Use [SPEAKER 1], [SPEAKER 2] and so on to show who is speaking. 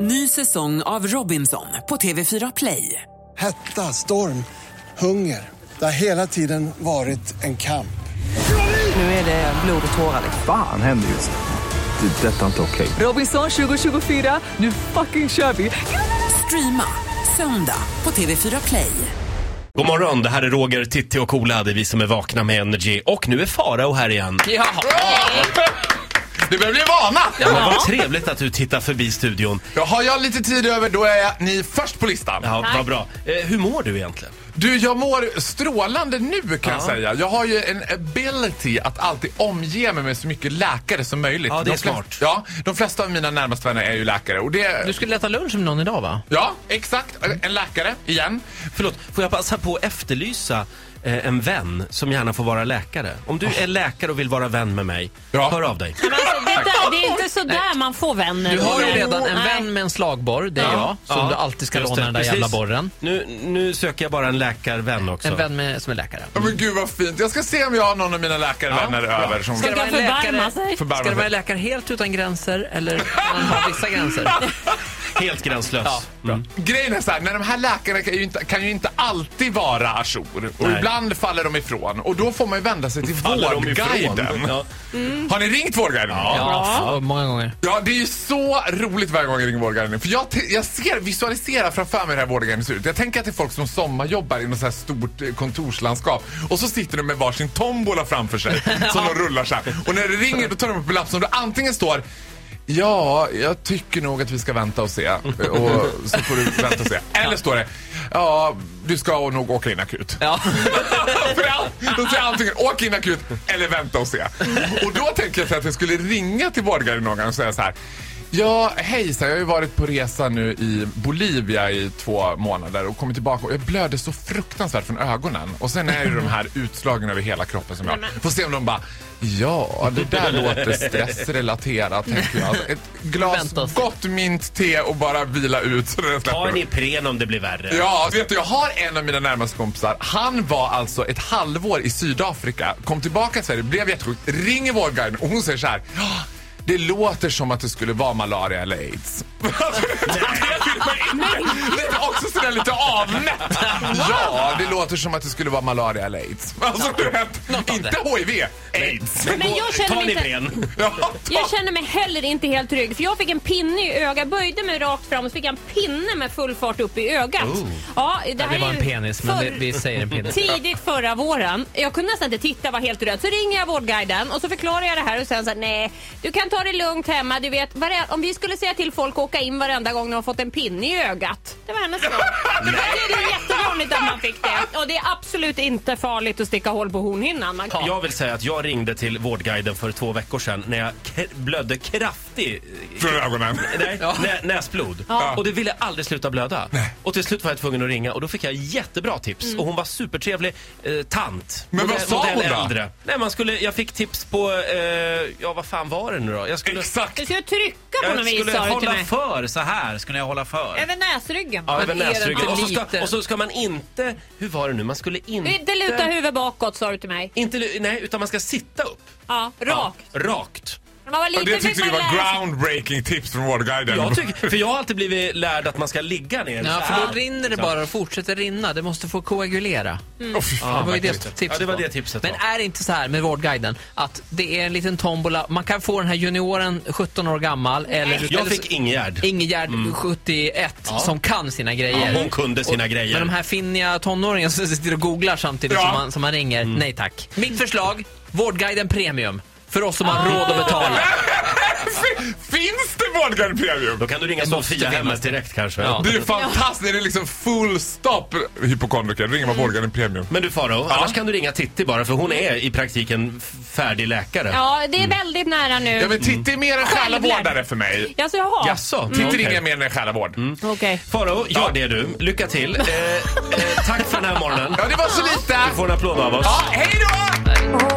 [SPEAKER 1] Ny säsong av Robinson på TV4 Play.
[SPEAKER 2] Hetta, storm, hunger. Det har hela tiden varit en kamp.
[SPEAKER 1] Nu är det blod och tårar.
[SPEAKER 3] Fan händer just nu. Det. är Detta är inte okej.
[SPEAKER 1] Robinson 2024, nu fucking kör vi! Streama söndag på TV4 Play.
[SPEAKER 4] God morgon, det här är Roger, Titti och Ola. Det är vi som är vakna med Energy. Och nu är Farao här igen.
[SPEAKER 5] Ja. Du börjar bli vana.
[SPEAKER 4] Ja, men vad trevligt att du tittar förbi studion.
[SPEAKER 5] Ja, har jag lite tid över, då är jag, ni först på listan.
[SPEAKER 4] Ja, vad bra. Eh, hur mår du egentligen?
[SPEAKER 5] Du, jag mår strålande nu kan jag säga. Jag har ju en ability att alltid omge mig med så mycket läkare som möjligt.
[SPEAKER 4] Ja, det är
[SPEAKER 5] de flest-
[SPEAKER 4] smart.
[SPEAKER 5] Ja, de flesta av mina närmaste vänner är ju läkare. Och det,
[SPEAKER 6] Du skulle äta lunch med någon idag va?
[SPEAKER 5] ja, exakt. En läkare, igen.
[SPEAKER 4] Förlåt, får jag passa på att efterlysa eh, en vän som gärna får vara läkare? Om du är läkare och vill vara vän med mig,
[SPEAKER 5] Ja.
[SPEAKER 4] hör av dig.
[SPEAKER 7] Men alltså, det, där, det är inte så där man får vänner.
[SPEAKER 6] Du har ju
[SPEAKER 7] Nej.
[SPEAKER 6] redan en
[SPEAKER 7] Nej.
[SPEAKER 6] vän med en slagborr, det är jag. Som du alltid ska
[SPEAKER 4] just
[SPEAKER 6] låna
[SPEAKER 4] det,
[SPEAKER 6] den där
[SPEAKER 4] precis.
[SPEAKER 6] jävla borren.
[SPEAKER 4] Nu, nu söker jag bara en läkarvän också.
[SPEAKER 6] En vän med, som är läkare.
[SPEAKER 5] Ja, men gud vad fint. Jag ska se om jag har någon av mina läkarvänner över. Som
[SPEAKER 6] Ska det
[SPEAKER 7] Ska
[SPEAKER 6] vara en
[SPEAKER 7] förbarma
[SPEAKER 6] läkare?
[SPEAKER 7] sig.
[SPEAKER 5] förbarmar
[SPEAKER 6] Ska det vara en
[SPEAKER 5] sig.
[SPEAKER 6] läkare helt utan gränser eller kan man ha vissa gränser?
[SPEAKER 4] Helt gränslös.
[SPEAKER 6] Ja,
[SPEAKER 4] Mm.
[SPEAKER 5] Grejen är så här, när de här läkarna kan ju inte, kan ju inte alltid vara ajour. Och
[SPEAKER 4] Nej.
[SPEAKER 5] ibland faller de ifrån. Och då får man ju vända sig till
[SPEAKER 4] Faller de ifrån?
[SPEAKER 5] Vårdguiden.
[SPEAKER 4] Ja.
[SPEAKER 5] Har ni ringt Vårdguiden?
[SPEAKER 6] Ja, f- många gånger.
[SPEAKER 5] Ja, det är ju så roligt varje gång jag ringer Vårdguiden. För jag, te- jag ser, visualiserar framför mig hur det här Vårdguiden ser ut. Jag tänker att det är folk som sommarjobbar i något så här stort eh, kontorslandskap. Och så sitter de med varsin tombola framför sig som de rullar så här. Och när det ringer då tar de upp en lapp som det antingen står Ja, jag tycker nog att vi ska vänta och se. eh, Och så får du vänta och se. Eller står det, ja, du ska nog åka in akut.
[SPEAKER 6] Ja.
[SPEAKER 5] För all- Då säger jag antingen åk in akut eller vänta och se. Och då tänker jag så här att jag skulle ringa till vårdgarden någon gång och säga så här. Ja, hej, så här, jag har ju varit på resa nu i Bolivia i två månader och kommit tillbaka och jag blöder så fruktansvärt från ögonen. Och sen är det de här utslagen över hela kroppen som jag får se om de bara Ja, det där låter stressrelaterat, tänker jag. Alltså, ett glas
[SPEAKER 6] Vänta och se.
[SPEAKER 5] gott mintte och bara vila ut så den släpper.
[SPEAKER 4] Ta en Ipren om det blir värre.
[SPEAKER 5] Ja, vet du, jag har en av mina närmaste kompisar. Han var alltså ett halvår i Sydafrika, kom tillbaka till Sverige, blev jättesjuk, ringer vårdguiden och hon säger så här. "Ja, Det låter som att det skulle vara malaria eller aids. Alltså, det vill man inte. Lite, också sådär lite avmätt. Ja, det låter som att det skulle vara malaria eller aids. Alltså, du vet,
[SPEAKER 6] av
[SPEAKER 5] inte HIV, aids.
[SPEAKER 7] Men jag känner,
[SPEAKER 4] Ta en
[SPEAKER 7] mig inte,
[SPEAKER 4] Ipren.
[SPEAKER 5] Ja,
[SPEAKER 7] jag känner mig heller inte helt trygg. För jag fick en pinne i ögat. Jag böjde mig rakt fram och så fick jag en pinne med full fart upp i ögat. Ja, det, här
[SPEAKER 6] Det var
[SPEAKER 7] är
[SPEAKER 6] en
[SPEAKER 7] ju
[SPEAKER 6] penis, men
[SPEAKER 7] förr-
[SPEAKER 6] vi, vi säger en penis.
[SPEAKER 7] Tidigt förra våren. Jag kunde nästan inte titta, var helt rädd. Så ringer jag Vårdguiden och så förklarar jag det här och sen så här, nej, du kan ta det lugnt hemma. Du vet, vare- om vi skulle säga till folk att åka in varenda gång de har fått en pinne i ögat. Det var hennes svar. Det är ju jättevanligt att man fick det. Och det är absolut inte farligt att sticka hål på hornhinnan. Man kan...
[SPEAKER 4] Jag vill säga att jag ringde till Vårdguiden för två veckor sedan när jag k- blödde kraftig
[SPEAKER 5] Från ögonen.
[SPEAKER 4] Nej, nä, näsblod. Och det ville aldrig sluta blöda. Och till slut var jag tvungen att ringa och då fick jag jättebra tips.
[SPEAKER 7] Mm.
[SPEAKER 4] Och hon var supertrevlig eh, tant.
[SPEAKER 5] Men vad sa hon då?
[SPEAKER 4] Äldre. Nej, man skulle, jag fick tips på, eh, ja vad fan var det nu då? Jag skulle,
[SPEAKER 5] Exakt.
[SPEAKER 7] Du ska ju trycka på något
[SPEAKER 4] jag
[SPEAKER 7] vis
[SPEAKER 4] skulle
[SPEAKER 7] sa du till
[SPEAKER 4] hålla
[SPEAKER 7] mig.
[SPEAKER 4] för så här skulle jag hålla för.
[SPEAKER 7] Över näsryggen.
[SPEAKER 4] Ja,
[SPEAKER 6] Men
[SPEAKER 4] över
[SPEAKER 6] är det
[SPEAKER 4] näsryggen.
[SPEAKER 6] inte
[SPEAKER 4] Och så, ska,
[SPEAKER 6] lite-
[SPEAKER 4] och så ska man inte, hur var det nu, man skulle inte...
[SPEAKER 7] Inte luta huvudet bakåt sa du till mig.
[SPEAKER 4] Inte, lu- nej, utan man ska sitta upp.
[SPEAKER 7] Ja, rakt.
[SPEAKER 4] Ja, rakt.
[SPEAKER 7] När Man var
[SPEAKER 5] Och det
[SPEAKER 7] liten
[SPEAKER 5] tyckte
[SPEAKER 7] fick
[SPEAKER 5] du
[SPEAKER 7] man lära
[SPEAKER 5] var
[SPEAKER 7] sig.
[SPEAKER 5] groundbreaking tips från vårdguiden.
[SPEAKER 4] Jag tycker, för jag har alltid blivit lärd att man ska ligga ner.
[SPEAKER 6] Ja,
[SPEAKER 4] så
[SPEAKER 6] för då
[SPEAKER 4] här.
[SPEAKER 6] rinner det bara och fortsätter rinna. Det måste få koagulera.
[SPEAKER 5] Åh, fy fan,
[SPEAKER 6] Det var ju
[SPEAKER 5] vad
[SPEAKER 6] det
[SPEAKER 5] äckligt.
[SPEAKER 6] tipset.
[SPEAKER 4] Ja, det var
[SPEAKER 6] då.
[SPEAKER 4] det tipset
[SPEAKER 6] Men
[SPEAKER 4] då.
[SPEAKER 6] är det inte så här med Vårdguiden att det är en liten tombola. Man kan få den här junioren 17 år gammal eller...
[SPEAKER 4] Jag
[SPEAKER 6] eller så-
[SPEAKER 4] fick Ingegärd.
[SPEAKER 6] Ingegärd, 71, som kan sina grejer.
[SPEAKER 4] Ja, hon kunde sina grejer.
[SPEAKER 6] Men de här finniga tonåringarna som sitter och googlar samtidigt
[SPEAKER 5] Ja.
[SPEAKER 6] som, man, som man ringer, nej tack. Mitt förslag, Vårdguiden Premium. För oss som har råd att betala.
[SPEAKER 5] Fin- Finns det Vårdgarden Premium?
[SPEAKER 4] Då kan du ringa
[SPEAKER 6] måste
[SPEAKER 4] Sofia
[SPEAKER 6] finnas
[SPEAKER 4] hemmet
[SPEAKER 6] det.
[SPEAKER 4] direkt kanske.
[SPEAKER 6] Ja.
[SPEAKER 5] Det är ju fantastiskt. Det är liksom full stopp hypokondriker. Ringer man Vårdgarden Premium.
[SPEAKER 4] Men du Faro, annars kan du ringa Titti bara för hon är i praktiken f- färdig läkare.
[SPEAKER 7] Ja, det är väldigt nära nu.
[SPEAKER 5] Ja, men Titti är mer en själavårdare för mig.
[SPEAKER 7] Alltså, jaha.
[SPEAKER 4] Jaså?
[SPEAKER 6] Mm.
[SPEAKER 5] Titti
[SPEAKER 4] Okej.
[SPEAKER 5] ringer mer än en själavård.
[SPEAKER 7] Okej.
[SPEAKER 4] Faro, gör det du. Lycka till. Eh, eh, tack för den här morgonen.
[SPEAKER 5] Ja, det var så lite.
[SPEAKER 4] Du får en applåd av oss.
[SPEAKER 5] Ja, hej då!